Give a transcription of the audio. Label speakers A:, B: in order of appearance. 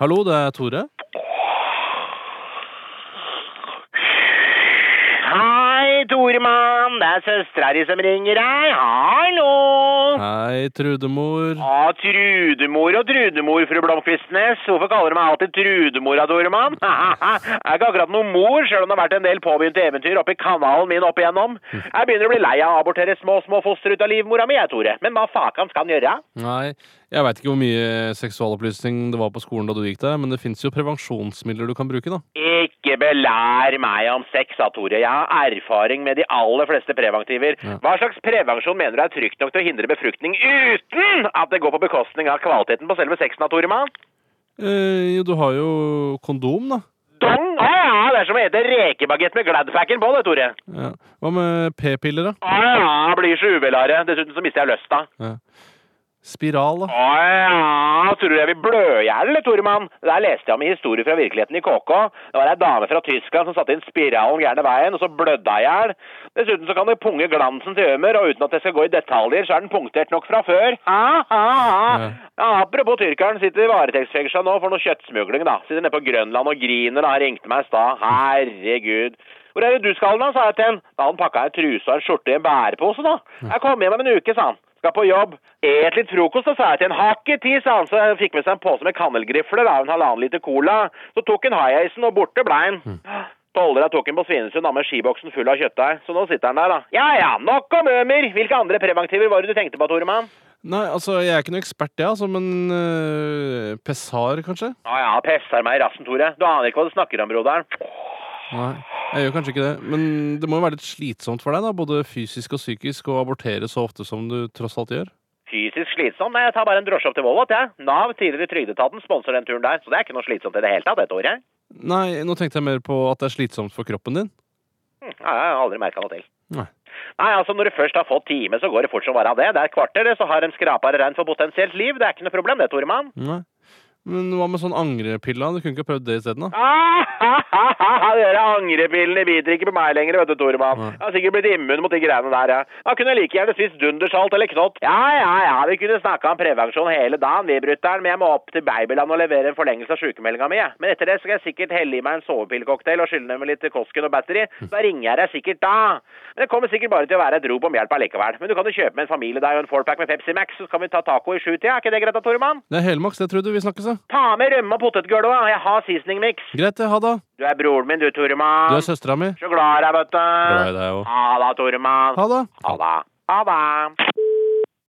A: Hallo, det er Tore.
B: Hei, Toremann. Det er søstera di som ringer deg. Hallo!
A: Hei, Trudemor.
B: Å, Trudemor og Trudemor, fru Blomkvistnes. Hvorfor kaller du meg alltid Trudemora, Toremann? Jeg er ikke akkurat noen mor, sjøl om det har vært en del påbegynte eventyr oppi kanalen min opp igjennom. Jeg begynner å bli lei av å abortere små, små foster ut av livmora mi, jeg, Tore. Men hva fakan skal han gjøre?
A: Nei, jeg veit ikke hvor mye seksualopplysning det var på skolen da du gikk der, men det fins jo prevensjonsmidler du kan bruke, da.
B: Ikke belær meg om sex, sa Tore. Jeg har erfaring med de aller fleste preventiver.
A: Ja.
B: Hva slags prevensjon mener du er trygt nok til å hindre befruktning uten at det går på bekostning av kvaliteten på selve sexen, da, Toremann?
A: Eh, jo, du har jo kondom, da.
B: Dong! Å ja, det er som å ete rekebagett med Gladpacken på, det, Tore.
A: Ja. Hva med p-piller, da?
B: Å ja, jeg blir så uvelare. Dessuten så mister jeg lysta.
A: Ja. Spiral, da?
B: Å ja, tror du jeg vil blø i hjel, Toremann? Det der leste jeg om i historie fra virkeligheten i KK. Det var ei dame fra Tyskland som satte inn spiralen gærne veien, og så blødde hun i hjel. Dessuten så kan du punge glansen til Ømer, og uten at jeg skal gå i detaljer, så er den punktert nok fra før. Ha, ha, ha.
A: Ja.
B: Ja, apropos tyrkeren, sitter i varetektsfengsla nå for noe kjøttsmugling, da. Sitter nede på Grønland og griner, da. Han ringte meg i stad. Herregud. Hvor er det du skal, da, sa jeg til han. Da hadde han pakka ei truse og en skjorte i en bærepose, da. Jeg kommer hjem om en uke, sa han. Skal på jobb. Et litt frokost, da, sa jeg til han. Har ikke tid, sa han. Så jeg fikk med seg en pose med kanelgrifler da, og en halvannen liter cola. Så tok han high-acen, og borte blei han. Tollera tok han på Svinesund da, med skiboksen full av kjøttdeig. Så nå sitter han der, da. Ja ja, nok om Ømer! Hvilke andre preventiver var det du tenkte på, Toremann?
A: Nei, altså, jeg er ikke noe ekspert, jeg, altså, men eh, Pessar, kanskje?
B: Ja, ja, pesser meg i rassen, Tore. Du aner ikke hva du snakker om, broderen.
A: Nei, jeg gjør kanskje ikke det. Men det må jo være litt slitsomt for deg, da, både fysisk og psykisk, å abortere så ofte som du tross alt gjør.
B: Fysisk slitsom? Nei, jeg tar bare en drosje opp til Volvat, jeg. Nav, tidligere Trygdeetaten, sponser den turen der, så det er ikke noe slitsomt i det hele tatt dette året.
A: Nei, nå tenkte jeg mer på at det er slitsomt for kroppen din.
B: Hm, ja, jeg har aldri merka noe til.
A: Nei.
B: Nei, altså, når du først har fått time, så går det fort som bare av det. Det er et kvarter, det, så har en skrapere regn for potensielt liv. Det er ikke noe problem, det, Toremann.
A: Nei. Men hva med sånn angrepilla? Du kunne ikke ha prøvd det isteden, da?
B: Ah, ha, ha, ha, Dere angrepillene biter ikke på meg lenger, vet du, Toremann.
A: Nei.
B: Jeg har sikkert blitt immun mot de greiene der, ja. Da kunne jeg like gjerne spist dundersalt eller knott. Ja, ja, ja, vi kunne snakka om prevensjon hele dagen, vi, brutter'n, men jeg må opp til Babyland og levere en forlengelse av sykemeldinga mi, jeg. Men etter det skal jeg sikkert helle i meg en sovepillecocktail og skylle ned med litt Kosken og batteri. Da ringer jeg deg sikkert da. Men det kommer sikkert bare til å være et rop om hjelp allikevel. Men du kan jo kjøpe med en familie deg og en fourpack med Pepsi Max, så skal vi ta taco i sjutida, er ikke det greit da, Toremann?
A: Det er helmaks, det, Trude. Vi snakkes, da.
B: Ta med rømme og potetgulva, jeg har seasoningmix.
A: Greit, det. Ha det.
B: Du er broren min, du,
A: Du
B: Toremann.
A: er søstera mi.
B: Så glad i deg, vet du.
A: Glad i deg òg.
B: Ha det, Toremann.
A: Ha det.
B: Ha det. Ha det.